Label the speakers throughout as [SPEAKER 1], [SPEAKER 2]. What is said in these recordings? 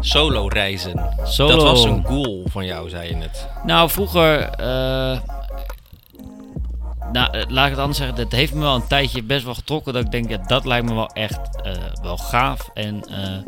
[SPEAKER 1] Solo reizen.
[SPEAKER 2] Solo.
[SPEAKER 1] Dat was een goal van jou, zei je net.
[SPEAKER 2] Nou, vroeger. eh, nou, eh, laat ik het anders zeggen. Dat heeft me wel een tijdje best wel getrokken. Dat ik denk, ja, dat lijkt me wel echt eh, wel gaaf en eh,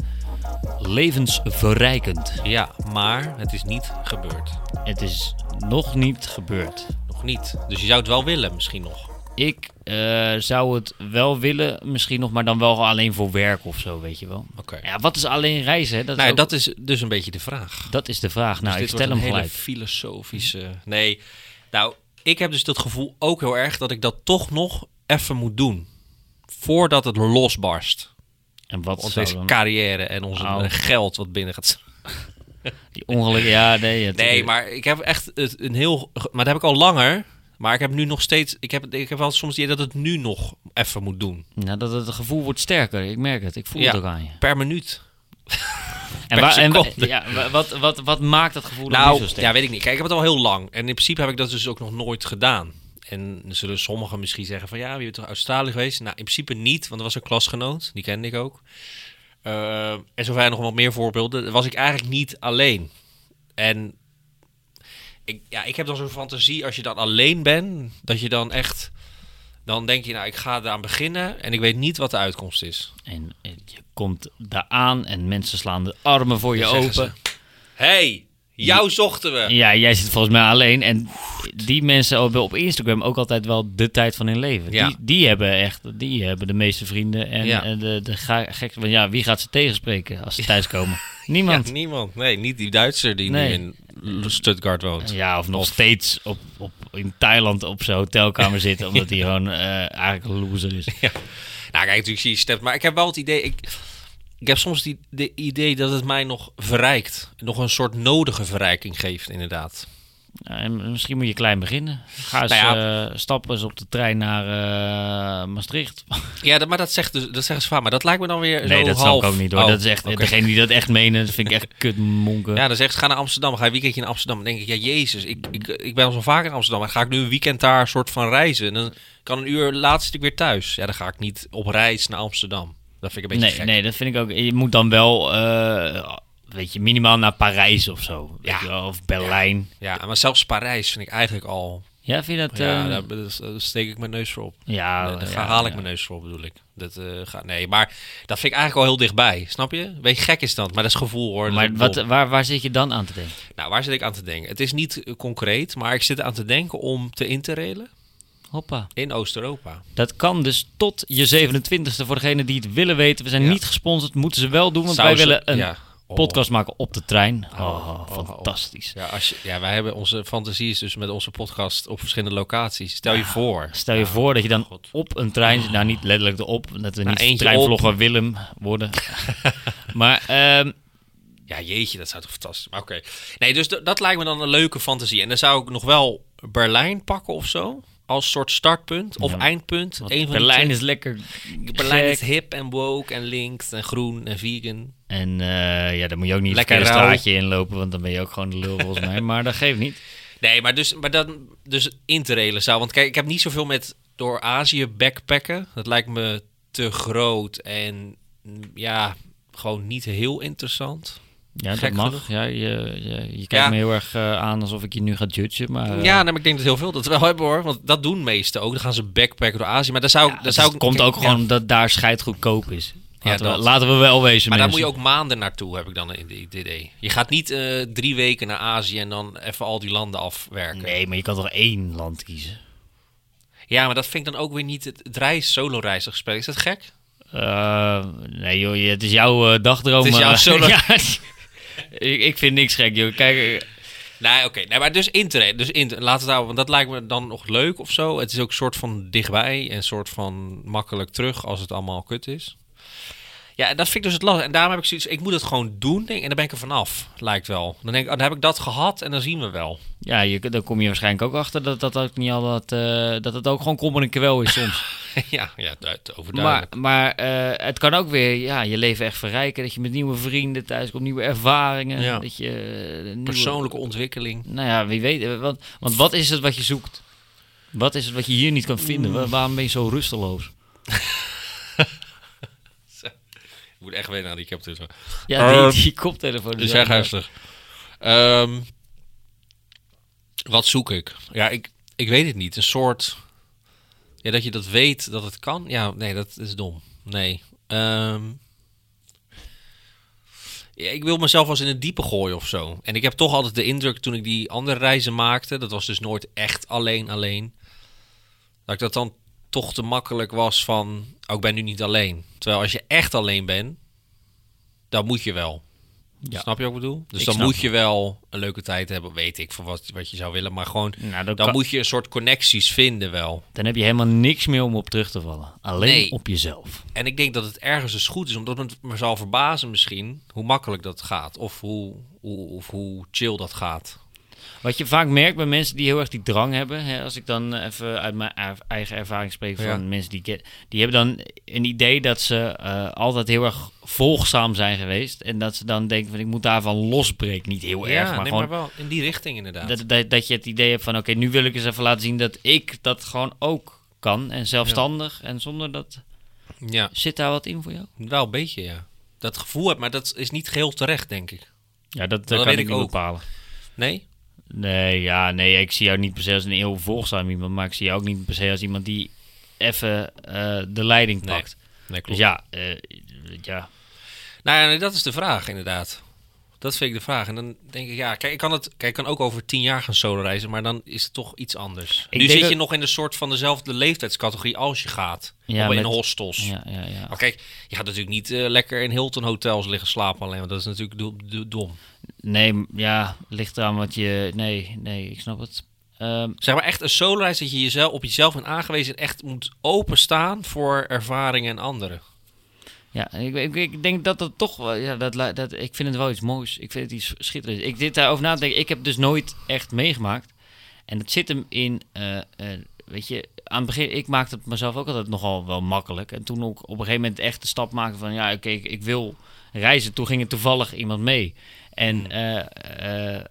[SPEAKER 2] levensverrijkend.
[SPEAKER 1] Ja, maar het is niet gebeurd.
[SPEAKER 2] Het is nog niet gebeurd.
[SPEAKER 1] Nog niet. Dus je zou het wel willen, misschien nog.
[SPEAKER 2] Ik eh, zou het wel willen, misschien nog, maar dan wel alleen voor werk of zo, weet je wel.
[SPEAKER 1] Oké.
[SPEAKER 2] Ja, wat is alleen reizen? Hè? Dat,
[SPEAKER 1] Nou,
[SPEAKER 2] is
[SPEAKER 1] ja,
[SPEAKER 2] ook-
[SPEAKER 1] dat is dus een beetje de vraag.
[SPEAKER 2] dat is de vraag. Nou,
[SPEAKER 1] dus
[SPEAKER 2] ik
[SPEAKER 1] dit
[SPEAKER 2] stel
[SPEAKER 1] wordt
[SPEAKER 2] hem
[SPEAKER 1] een
[SPEAKER 2] gelijk.
[SPEAKER 1] hele filosofische. Nee, nou, ik heb dus dat gevoel ook heel erg dat ik dat toch nog even moet doen. Voordat het losbarst.
[SPEAKER 2] En wat
[SPEAKER 1] Onze
[SPEAKER 2] zou
[SPEAKER 1] deze
[SPEAKER 2] dan-
[SPEAKER 1] carrière en ons
[SPEAKER 2] Oh.
[SPEAKER 1] eh, geld wat binnen gaat.
[SPEAKER 2] die ongeluk? Ja, nee. het-
[SPEAKER 1] Nee, maar ik heb echt het, een heel. Maar dat heb ik al langer. Maar ik heb nu nog steeds. Ik heb, ik heb wel soms het idee dat het nu nog even moet doen.
[SPEAKER 2] Nou, dat het gevoel wordt sterker. Ik merk het. Ik voel
[SPEAKER 1] Ja.
[SPEAKER 2] het ook aan je.
[SPEAKER 1] Per minuut.
[SPEAKER 2] En,
[SPEAKER 1] Per
[SPEAKER 2] wa- en wa-
[SPEAKER 1] seconde.
[SPEAKER 2] ja, wa- wat, wat, wat maakt dat gevoel dan nu zo
[SPEAKER 1] Nou,
[SPEAKER 2] sterk?
[SPEAKER 1] ja, weet ik niet. Kijk, ik heb het al heel lang. En in principe heb ik dat dus ook nog nooit gedaan. En er zullen sommigen misschien zeggen van... Ja, je bent toch Australië geweest? Nou, in principe niet. Want er was een klasgenoot. Die kende ik ook. Eh, en zo zijn nog wat meer voorbeelden. Was ik eigenlijk niet alleen. En ik, ja, ik heb dan zo'n fantasie als je dan alleen bent. Dat je dan echt... Dan denk je, nou, ik ga eraan beginnen. En ik weet niet wat de uitkomst is.
[SPEAKER 2] En, en je komt daar aan en mensen slaan de armen voor je
[SPEAKER 1] Dan zeggen
[SPEAKER 2] open.
[SPEAKER 1] Hé, hey, jou zochten we.
[SPEAKER 2] Ja, jij zit volgens mij alleen. En die mensen hebben op Instagram ook altijd wel de tijd van hun leven.
[SPEAKER 1] Ja.
[SPEAKER 2] Die, die hebben echt, die hebben de meeste vrienden. En,
[SPEAKER 1] Ja.
[SPEAKER 2] en de, de ga, gek, want ja, wie gaat ze tegenspreken als ze thuiskomen?
[SPEAKER 1] Ja,
[SPEAKER 2] Niemand.
[SPEAKER 1] niemand. Nee, niet die Duitser die
[SPEAKER 2] Nee.
[SPEAKER 1] nu in L- Stuttgart woont.
[SPEAKER 2] Ja, of nog
[SPEAKER 1] Of-
[SPEAKER 2] steeds op, op, in Thailand op zijn hotelkamer zitten. Omdat hij gewoon eh, eigenlijk een loser is.
[SPEAKER 1] Nou, kijk, natuurlijk zie je stemt. Maar ik heb wel het idee... Ik, ik heb soms die, de idee dat het mij nog verrijkt. Nog een soort nodige verrijking geeft, inderdaad.
[SPEAKER 2] Nou, en misschien moet je klein beginnen. Ga eens
[SPEAKER 1] Nou
[SPEAKER 2] eh, stappen eens op de trein naar eh, Maastricht.
[SPEAKER 1] Ja, dat, maar dat zegt dus, dat zeggen ze vaak. Maar dat lijkt me dan weer zo
[SPEAKER 2] Nee, dat
[SPEAKER 1] half.
[SPEAKER 2] snap ik ook niet hoor.
[SPEAKER 1] Oh,
[SPEAKER 2] dat is echt,
[SPEAKER 1] oké.
[SPEAKER 2] degene die dat echt menen, dat vind ik echt kut monken.
[SPEAKER 1] Ja, dan zegt ze, ga naar Amsterdam. Ga je een weekendje in Amsterdam. Dan denk ik, ja, jezus, ik, ik, ik ben al zo vaak in Amsterdam. En ga ik nu een weekend daar een soort van reizen? En dan kan een uur laatst zit ik weer thuis. Ja, dan ga ik niet op reis naar Amsterdam. Dat vind ik een beetje
[SPEAKER 2] nee,
[SPEAKER 1] gek.
[SPEAKER 2] nee, dat vind ik ook. Je moet dan wel, eh, weet je, minimaal naar Parijs of zo. Weet
[SPEAKER 1] Ja.
[SPEAKER 2] je wel, of Berlijn.
[SPEAKER 1] Ja, maar zelfs Parijs vind ik eigenlijk al...
[SPEAKER 2] Ja, vind je dat? eh,
[SPEAKER 1] Ja, daar, daar steek ik mijn neus voor op.
[SPEAKER 2] Oh, ja,
[SPEAKER 1] daar
[SPEAKER 2] ja,
[SPEAKER 1] haal ik
[SPEAKER 2] ja.
[SPEAKER 1] mijn neus voor, op, bedoel ik. Dat, eh, ga, nee, maar dat vind ik eigenlijk al heel dichtbij, snap je? Weet je, gek is dat, maar dat is gevoel hoor. Dat is
[SPEAKER 2] Maar
[SPEAKER 1] een
[SPEAKER 2] wat,
[SPEAKER 1] bom.
[SPEAKER 2] waar, waar zit je dan aan te denken?
[SPEAKER 1] Nou, waar zit ik aan te denken? Het is niet eh, concreet, maar ik zit aan te denken om te interrailen
[SPEAKER 2] Hoppa.
[SPEAKER 1] in Oost-Europa.
[SPEAKER 2] Dat kan dus tot je 27e. Voor degene die het willen weten, we zijn
[SPEAKER 1] Ja.
[SPEAKER 2] niet gesponsord. Moeten ze wel doen, want
[SPEAKER 1] Zou
[SPEAKER 2] wij
[SPEAKER 1] ze-
[SPEAKER 2] willen een
[SPEAKER 1] ja. Oh.
[SPEAKER 2] podcast maken op de trein. Oh,
[SPEAKER 1] oh,
[SPEAKER 2] fantastisch.
[SPEAKER 1] Ja, als je, ja, wij hebben onze fantasie is dus met onze podcast op verschillende locaties. Stel je voor.
[SPEAKER 2] Stel je voor dat je dan op een trein zit. Nou, niet letterlijk erop. Dat we
[SPEAKER 1] Nou,
[SPEAKER 2] niet
[SPEAKER 1] eentje
[SPEAKER 2] treinvlogger Willem worden. maar ehm,
[SPEAKER 1] Ja, jeetje, dat zou toch fantastisch. Maar oké. Nee, dus d- dat lijkt me dan een leuke fantasie. En dan zou ik nog wel Berlijn pakken of zo. Als soort startpunt of
[SPEAKER 2] Ja,
[SPEAKER 1] eindpunt.
[SPEAKER 2] want
[SPEAKER 1] Een van die
[SPEAKER 2] Berlijn
[SPEAKER 1] twee.
[SPEAKER 2] is lekker
[SPEAKER 1] Berlijn
[SPEAKER 2] gek.
[SPEAKER 1] is hip en woke en links en groen en vegan.
[SPEAKER 2] En eh, ja, dan moet je ook niet
[SPEAKER 1] Lekker
[SPEAKER 2] lekker een
[SPEAKER 1] rauw.
[SPEAKER 2] straatje inlopen. Want dan ben je ook gewoon de lul volgens mij. Maar dat geeft niet.
[SPEAKER 1] Nee, maar dus, maar dan, dus interrailen zou. Want kijk, ik heb niet zoveel met door Azië backpacken. Dat lijkt me te groot en mm, ja, gewoon niet heel interessant.
[SPEAKER 2] Ja, dat
[SPEAKER 1] Gek
[SPEAKER 2] mag.
[SPEAKER 1] genoeg.
[SPEAKER 2] Ja, je, je, je kijkt
[SPEAKER 1] Ja.
[SPEAKER 2] me heel erg eh, aan alsof ik je nu ga judgen. Maar, eh,
[SPEAKER 1] ja, nee, maar ik denk dat heel veel dat wel hebben hoor. Want dat doen meesten ook. Dan gaan ze backpacken door Azië. Maar daar zou, ik-
[SPEAKER 2] ja,
[SPEAKER 1] daar
[SPEAKER 2] dus
[SPEAKER 1] zou
[SPEAKER 2] het
[SPEAKER 1] ik-
[SPEAKER 2] komt
[SPEAKER 1] kijk,
[SPEAKER 2] ook
[SPEAKER 1] ja.
[SPEAKER 2] gewoon dat daar scheid goedkoop is.
[SPEAKER 1] Ja,
[SPEAKER 2] Laten, we,
[SPEAKER 1] dat.
[SPEAKER 2] laten we wel wezen,
[SPEAKER 1] Maar daar moet
[SPEAKER 2] mensen.
[SPEAKER 1] je ook maanden naartoe, heb ik dan in dit idee. Je gaat niet eh, drie weken naar Azië en dan even al die landen afwerken.
[SPEAKER 2] Nee, maar je kan toch één land kiezen?
[SPEAKER 1] Ja, maar dat vind ik dan ook weer niet het, het reis, solo reisgesprek. Is dat gek?
[SPEAKER 2] Eh, nee joh, je- het is jouw eh, dagdroom.
[SPEAKER 1] Het is jouw
[SPEAKER 2] eh,
[SPEAKER 1] solo-
[SPEAKER 2] ja, ik, ik vind niks gek joh. Kijk, eh,
[SPEAKER 1] Nee, oké. Nee, maar dus internet. Dus inter laten we het houden, want dat lijkt me dan nog leuk of zo. Het is ook een soort van dichtbij en een soort van makkelijk terug als het allemaal kut is. Ja, en dat vind ik dus het lastig. En daarom heb ik zoiets, ik moet het gewoon doen denk, ik, en dan ben ik er vanaf, lijkt wel. Dan denk ik, oh, dan heb ik dat gehad en dan zien we wel.
[SPEAKER 2] ja, je, dan kom je waarschijnlijk ook achter dat dat ook niet al dat, eh, dat het ook gewoon kom en kwel is soms.
[SPEAKER 1] ja, ja, duid- overduidelijk.
[SPEAKER 2] maar maar eh, het kan ook weer ja, je leven echt verrijken. Dat je met nieuwe vrienden thuis komt, nieuwe ervaringen.
[SPEAKER 1] Ja.
[SPEAKER 2] Dat je, eh, nieuwe-
[SPEAKER 1] Persoonlijke ontwikkeling.
[SPEAKER 2] Nou ja, wie weet. eh, Want, want wat is het wat je zoekt? Wat is het wat je hier niet kan vinden? Wa- Waarom ben je zo rusteloos?
[SPEAKER 1] moet echt wennen aan die capture.
[SPEAKER 2] Ja,
[SPEAKER 1] Ehm,
[SPEAKER 2] die, die koptelefoon.
[SPEAKER 1] Dus
[SPEAKER 2] is
[SPEAKER 1] zeg
[SPEAKER 2] wel-
[SPEAKER 1] ernstig. Ehm, wat zoek ik? Ja, ik, ik weet het niet. Een soort... Ja, dat je dat weet, dat het kan. Ja, nee, dat is dom. Nee. Ehm, ja, ik wil mezelf als in het diepe gooien of zo. En ik heb toch altijd de indruk, toen ik die andere reizen maakte... dat was dus nooit echt alleen alleen... dat ik dat dan toch te makkelijk was van... oh, ik ben nu niet alleen. Terwijl als je echt alleen bent, dan moet je wel.
[SPEAKER 2] Ja.
[SPEAKER 1] Snap je wat ik bedoel? Dus
[SPEAKER 2] Ik
[SPEAKER 1] dan
[SPEAKER 2] snap
[SPEAKER 1] moet
[SPEAKER 2] het.
[SPEAKER 1] je wel een leuke tijd hebben, weet ik, voor wat, wat je zou willen. Maar gewoon,
[SPEAKER 2] Nou, dan,
[SPEAKER 1] dan
[SPEAKER 2] kan-
[SPEAKER 1] moet je een soort connecties vinden wel.
[SPEAKER 2] dan heb je helemaal niks meer om op terug te vallen. Alleen
[SPEAKER 1] Nee.
[SPEAKER 2] op jezelf.
[SPEAKER 1] En ik denk dat het ergens dus goed is, omdat het me zal verbazen misschien hoe makkelijk dat gaat. Of hoe, hoe, of hoe chill dat gaat.
[SPEAKER 2] Wat je vaak merkt bij mensen die heel erg die drang hebben. Hè, als ik dan even uit mijn er- eigen ervaring spreek van
[SPEAKER 1] Ja.
[SPEAKER 2] mensen die ik ken. Die hebben dan een idee dat ze eh, altijd heel erg volgzaam zijn geweest. En dat ze dan denken van ik moet daarvan losbreken. Niet heel erg, maar
[SPEAKER 1] nee,
[SPEAKER 2] gewoon
[SPEAKER 1] wel in die richting inderdaad.
[SPEAKER 2] dat, dat, dat je het idee hebt van oké, nu wil ik eens even laten zien dat ik dat gewoon ook kan. En zelfstandig en zonder dat...
[SPEAKER 1] Ja,
[SPEAKER 2] Zit daar wat in voor jou?
[SPEAKER 1] wel een beetje ja. Dat gevoel heb, maar dat is niet geheel terecht denk ik.
[SPEAKER 2] Ja, dat, eh,
[SPEAKER 1] dat
[SPEAKER 2] kan
[SPEAKER 1] weet
[SPEAKER 2] ik
[SPEAKER 1] ik
[SPEAKER 2] niet
[SPEAKER 1] ook.
[SPEAKER 2] bepalen.
[SPEAKER 1] Nee?
[SPEAKER 2] Nee, ja, nee, ik zie jou niet per se als een heel volgzaam iemand, maar ik zie jou ook niet per se als iemand die even eh, de leiding
[SPEAKER 1] Nee,
[SPEAKER 2] pakt.
[SPEAKER 1] Nee,
[SPEAKER 2] Dus ja, eh, ja.
[SPEAKER 1] Nou ja, nee, dat is de vraag inderdaad. Dat vind ik de vraag. En dan denk ik, ja, kijk, ik kan, het, kijk, ik kan ook over tien jaar gaan solo reizen, maar dan is het toch iets anders.
[SPEAKER 2] Ik
[SPEAKER 1] nu
[SPEAKER 2] denk
[SPEAKER 1] zit
[SPEAKER 2] dat-
[SPEAKER 1] je nog in een soort van dezelfde leeftijdscategorie als je gaat.
[SPEAKER 2] Ja,
[SPEAKER 1] of in
[SPEAKER 2] met-
[SPEAKER 1] hostels.
[SPEAKER 2] ja, ja, ja.
[SPEAKER 1] Maar kijk, je gaat natuurlijk niet eh, lekker in Hilton hotels liggen slapen alleen, want dat is natuurlijk do- do- dom.
[SPEAKER 2] Nee, m- ja, ligt eraan wat je... Nee, nee, ik snap het. Ehm,
[SPEAKER 1] Zeg maar echt een solo reis dat je jezelf op jezelf bent aangewezen en echt moet openstaan voor ervaringen en anderen.
[SPEAKER 2] ja, ik, ik, ik denk dat dat toch... wel- Ja, dat, li- dat, ik vind het wel iets moois. Ik vind het iets schitterends. Ik zit daarover na te denken. Ik heb dus nooit echt meegemaakt. En dat zit hem in... eh, eh, weet je, aan het begin... Ik maakte het mezelf ook altijd nogal wel makkelijk. En toen ook op een gegeven moment echt de stap maakte van... Ja, oké, ik, ik wil reizen. Toen ging er toevallig iemand mee. En... eh, eh,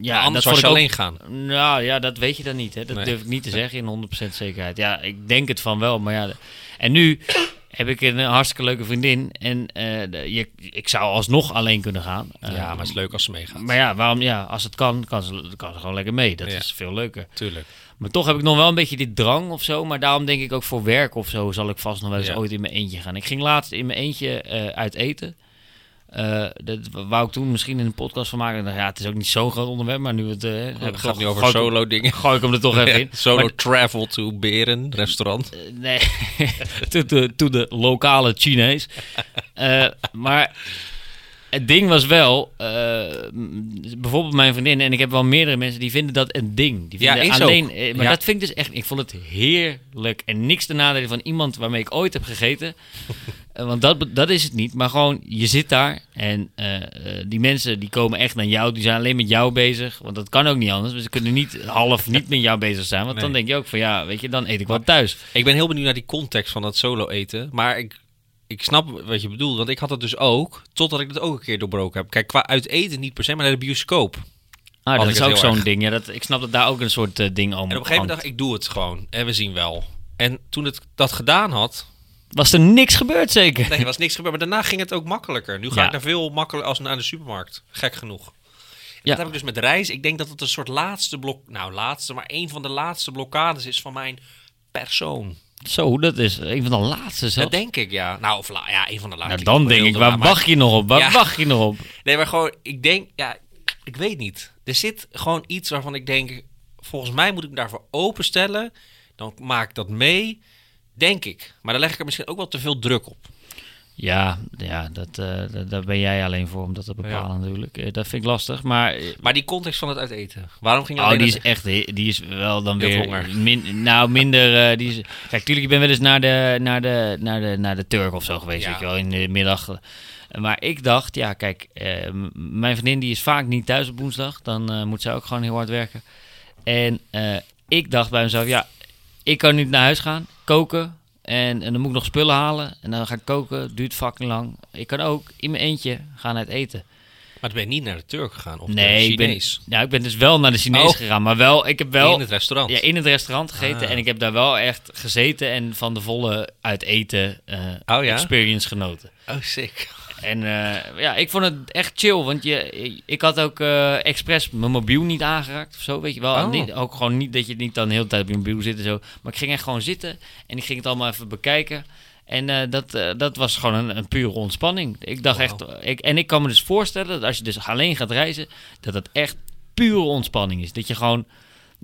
[SPEAKER 1] Ja, anders was je
[SPEAKER 2] vond ik ook-
[SPEAKER 1] alleen gaan.
[SPEAKER 2] nou ja, dat weet je dan niet. Hè? Dat
[SPEAKER 1] Nee.
[SPEAKER 2] durf ik niet te zeggen in 100% zekerheid. Ja, ik denk het van wel, maar ja. de- En nu heb ik een eh, hartstikke leuke vriendin. En eh, de- je, ik zou alsnog alleen kunnen gaan. Eh,
[SPEAKER 1] ja, maar het is leuk als ze meegaat.
[SPEAKER 2] maar ja, waarom? Ja, als het kan, kan ze, kan ze gewoon lekker mee. Dat
[SPEAKER 1] Ja.
[SPEAKER 2] is veel leuker.
[SPEAKER 1] Tuurlijk.
[SPEAKER 2] Maar toch heb ik nog wel een beetje die drang of zo. Maar daarom denk ik ook voor werk of zo zal ik vast nog wel eens
[SPEAKER 1] Ja.
[SPEAKER 2] ooit in mijn eentje gaan. Ik ging laatst in mijn eentje eh, uit eten. Eh, dat wou ik toen misschien in een podcast van maken. Ik dacht, Ja, het is ook niet zo'n groot onderwerp, maar nu het... eh, heb
[SPEAKER 1] Het
[SPEAKER 2] ik
[SPEAKER 1] Oh, gaat nu
[SPEAKER 2] gewoon-
[SPEAKER 1] over
[SPEAKER 2] gooi ik-
[SPEAKER 1] solo dingen.
[SPEAKER 2] gooi ik hem er toch even in.
[SPEAKER 1] Solo
[SPEAKER 2] Maar,
[SPEAKER 1] travel to Beren, restaurant.
[SPEAKER 2] eh, nee, to, to, to de lokale Chinees. Eh, maar het ding was wel, eh, m- bijvoorbeeld mijn vriendin, en ik heb wel meerdere mensen die vinden dat een ding. Die
[SPEAKER 1] Ja,
[SPEAKER 2] vinden
[SPEAKER 1] is
[SPEAKER 2] alleen, eh, maar
[SPEAKER 1] Ja.
[SPEAKER 2] dat vind ik dus echt, ik vond het heerlijk. En niks te nadelen van iemand waarmee ik ooit heb gegeten. Eh, Want dat, be- dat is het niet. Maar gewoon, je zit daar en eh, eh, die mensen die komen echt naar jou. Die zijn alleen met jou bezig. Want dat kan ook niet anders. Dus Ze kunnen niet half niet met jou bezig zijn. Want dan
[SPEAKER 1] Nee.
[SPEAKER 2] denk je ook van ja, weet je, dan eet ik wel thuis.
[SPEAKER 1] Ik ben heel benieuwd naar die context van dat solo eten. Maar ik, ik snap wat je bedoelt. Want ik had dat dus ook. Totdat ik dat ook een keer doorbroken heb. Kijk, qua uit eten niet per se, maar naar de bioscoop. En Had
[SPEAKER 2] Ah, dat
[SPEAKER 1] ik
[SPEAKER 2] is
[SPEAKER 1] het
[SPEAKER 2] ook
[SPEAKER 1] heel
[SPEAKER 2] zo'n ding. Ja, dat, ik snap dat daar ook een soort eh, ding om
[SPEAKER 1] op een gegeven moment dacht ik, ik doe het gewoon. En we zien wel. En toen ik dat gedaan had,
[SPEAKER 2] Was er niks gebeurd zeker?
[SPEAKER 1] nee, er was niks gebeurd. Maar daarna ging het ook makkelijker. Nu ga
[SPEAKER 2] Ja.
[SPEAKER 1] ik naar veel makkelijker als naar de supermarkt. Gek genoeg.
[SPEAKER 2] Ja.
[SPEAKER 1] Ja. Dat heb ik dus met reis. Ik denk dat het een soort laatste blok... Nou, laatste, maar een van de laatste blokkades is van mijn persoon.
[SPEAKER 2] Zo, dat is een van de laatste zelfs.
[SPEAKER 1] Dat denk ik, ja. Nou, of la- ja, een van de laatste.
[SPEAKER 2] nou, dan denk ik, waar
[SPEAKER 1] wacht.
[SPEAKER 2] wacht je nog op? Waar
[SPEAKER 1] Ja.
[SPEAKER 2] wacht je nog op?
[SPEAKER 1] Nee, maar gewoon, ik denk, ja, ik weet niet. Er zit gewoon iets waarvan ik denk, volgens mij moet ik me daarvoor openstellen. Dan maak ik dat mee, denk ik. Maar dan leg ik er misschien ook wel te veel druk op.
[SPEAKER 2] Ja, ja dat, eh, dat- daar ben jij alleen voor om dat te bepalen natuurlijk. Eh, dat vind ik lastig, maar... eh,
[SPEAKER 1] Maar die context van het uiteten, waarom ging je
[SPEAKER 2] Oh,
[SPEAKER 1] alleen
[SPEAKER 2] die is
[SPEAKER 1] dat-
[SPEAKER 2] echt, he- die is wel dan
[SPEAKER 1] Heel
[SPEAKER 2] weer
[SPEAKER 1] honger.
[SPEAKER 2] min- nou minder. eh, die is, kijk, tuurlijk, ik ben wel eens naar de, naar de, naar de, naar de Turk of zo geweest,
[SPEAKER 1] Ja.
[SPEAKER 2] weet je wel, in de middag. Maar ik dacht, ja, kijk, eh, m- mijn vriendin die is vaak niet thuis op woensdag, dan eh, moet zij ook gewoon heel hard werken. En eh, ik dacht bij mezelf, ja, ik kan niet naar huis gaan, koken. En, en dan moet ik nog spullen halen. En dan ga ik koken, duurt fucking lang. Ik kan ook in mijn eentje gaan uit eten.
[SPEAKER 1] Maar dan ben je niet naar de Turk gegaan of
[SPEAKER 2] nee,
[SPEAKER 1] de
[SPEAKER 2] ik ben,
[SPEAKER 1] Chinees.
[SPEAKER 2] nou, ik ben dus wel naar de Chinees
[SPEAKER 1] Oh.
[SPEAKER 2] gegaan. Maar wel, ik heb wel...
[SPEAKER 1] In het restaurant.
[SPEAKER 2] Ja, in het restaurant gegeten.
[SPEAKER 1] Ah.
[SPEAKER 2] En ik heb daar wel echt gezeten en van de volle uit eten eh,
[SPEAKER 1] Oh ja?
[SPEAKER 2] experience genoten.
[SPEAKER 1] Oh, sick.
[SPEAKER 2] En eh, ja, ik vond het echt chill. Want je, ik had ook eh, expres mijn mobiel niet aangeraakt of zo, weet je wel.
[SPEAKER 1] Oh.
[SPEAKER 2] En niet- ook gewoon niet dat je niet dan de hele tijd op je mobiel zit en zo. Maar ik ging echt gewoon zitten en ik ging het allemaal even bekijken. En eh, dat, eh, dat was gewoon een, een pure ontspanning. Ik dacht echt... Ik, en ik kan me dus voorstellen dat als je dus alleen gaat reizen... dat het echt pure ontspanning is. Dat je gewoon...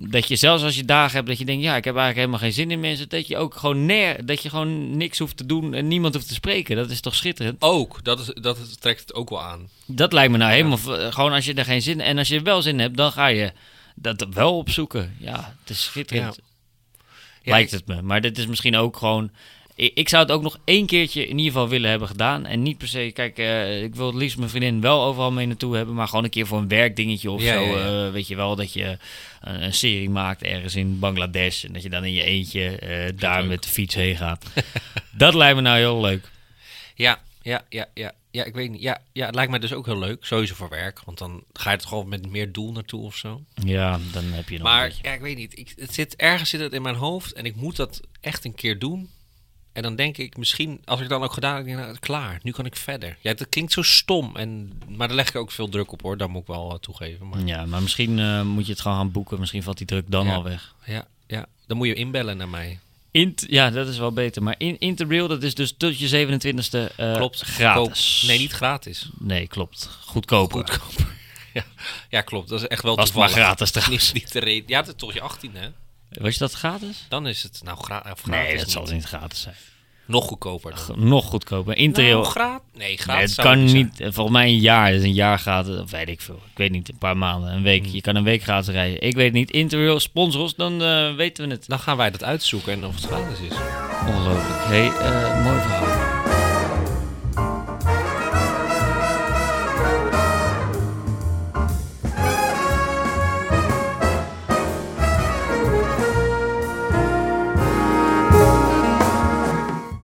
[SPEAKER 2] Dat je zelfs als je dagen hebt dat je denkt... ja, ik heb eigenlijk helemaal geen zin in mensen... dat je ook gewoon, ner, dat je gewoon niks hoeft te doen... en niemand hoeft te spreken. Dat is toch schitterend?
[SPEAKER 1] Ook, dat, is, dat is- trekt het ook wel aan.
[SPEAKER 2] Dat lijkt me nou helemaal... v- Gewoon als je er geen zin... En als je er wel zin in hebt, dan ga je dat wel opzoeken. Ja, het is schitterend.
[SPEAKER 1] Ja,
[SPEAKER 2] lijkt
[SPEAKER 1] ik-
[SPEAKER 2] het me. Maar dit is misschien ook gewoon... I- Ik zou het ook nog één keertje in ieder geval willen hebben gedaan. En niet per se... Kijk, eh, ik wil het liefst mijn vriendin wel overal mee naartoe hebben. Maar gewoon een keer voor een werkdingetje of
[SPEAKER 1] Ja,
[SPEAKER 2] zo.
[SPEAKER 1] ja, ja.
[SPEAKER 2] eh, weet je wel, dat je een, een serie maakt ergens in Bangladesh. En dat je dan in je eentje eh, daar
[SPEAKER 1] leuk.
[SPEAKER 2] met de fiets heen gaat. dat lijkt me nou heel leuk.
[SPEAKER 1] Ja, ja, ja, ja. Ja, ik weet niet. Ja, ja, het lijkt mij dus ook heel leuk. Sowieso voor werk. Want dan ga je er gewoon met meer doel naartoe of zo.
[SPEAKER 2] Ja, dan heb je nog een
[SPEAKER 1] Maar
[SPEAKER 2] beetje.
[SPEAKER 1] ja, ik weet niet. Ik, het zit, ergens zit het in mijn hoofd en ik moet dat echt een keer doen. En dan denk ik misschien, als ik dan ook gedaan heb, denk ik, nou, klaar. Nu kan ik verder. Ja, dat klinkt zo stom. En, maar daar leg ik ook veel druk op hoor. Dat moet ik wel eh, toegeven. Maar
[SPEAKER 2] Ja, maar misschien eh, moet je het gewoon gaan boeken. Misschien valt die druk dan
[SPEAKER 1] Ja.
[SPEAKER 2] al weg.
[SPEAKER 1] ja, ja, dan moet je inbellen naar mij.
[SPEAKER 2] Int, ja, dat is wel beter. Maar in, Interrail, dat is dus tot je 27e eh,
[SPEAKER 1] Klopt.
[SPEAKER 2] gratis.
[SPEAKER 1] Goedkoop. Nee, niet gratis.
[SPEAKER 2] Nee, klopt. Goedkoper.
[SPEAKER 1] Goedkoper. ja, ja, klopt. Dat is echt wel
[SPEAKER 2] Was het maar
[SPEAKER 1] toevallig.
[SPEAKER 2] gratis
[SPEAKER 1] Niet,
[SPEAKER 2] trouwens.
[SPEAKER 1] niet de reden. Ja, tot je 18 hè.
[SPEAKER 2] Was je dat gratis?
[SPEAKER 1] Dan is het nou gra of gratis.
[SPEAKER 2] Nee, dat
[SPEAKER 1] niet.
[SPEAKER 2] zal niet gratis zijn.
[SPEAKER 1] Nog goedkoper dan.
[SPEAKER 2] G- Nog goedkoper. Interrail,
[SPEAKER 1] Nou, gra- nee, gratis
[SPEAKER 2] nee, het
[SPEAKER 1] zou
[SPEAKER 2] kan
[SPEAKER 1] het zijn.
[SPEAKER 2] niet. eh, Volgens mij een jaar. Dus een jaar gratis. Of weet ik veel. Ik weet niet. Een paar maanden. Een
[SPEAKER 1] Hmm.
[SPEAKER 2] week. Je kan een week gratis rijden. Ik weet niet. Interrail, sponsors, dan eh, weten we het.
[SPEAKER 1] Dan gaan wij dat uitzoeken en of het gratis is.
[SPEAKER 2] Ongelooflijk. hey, eh, mooi verhaal.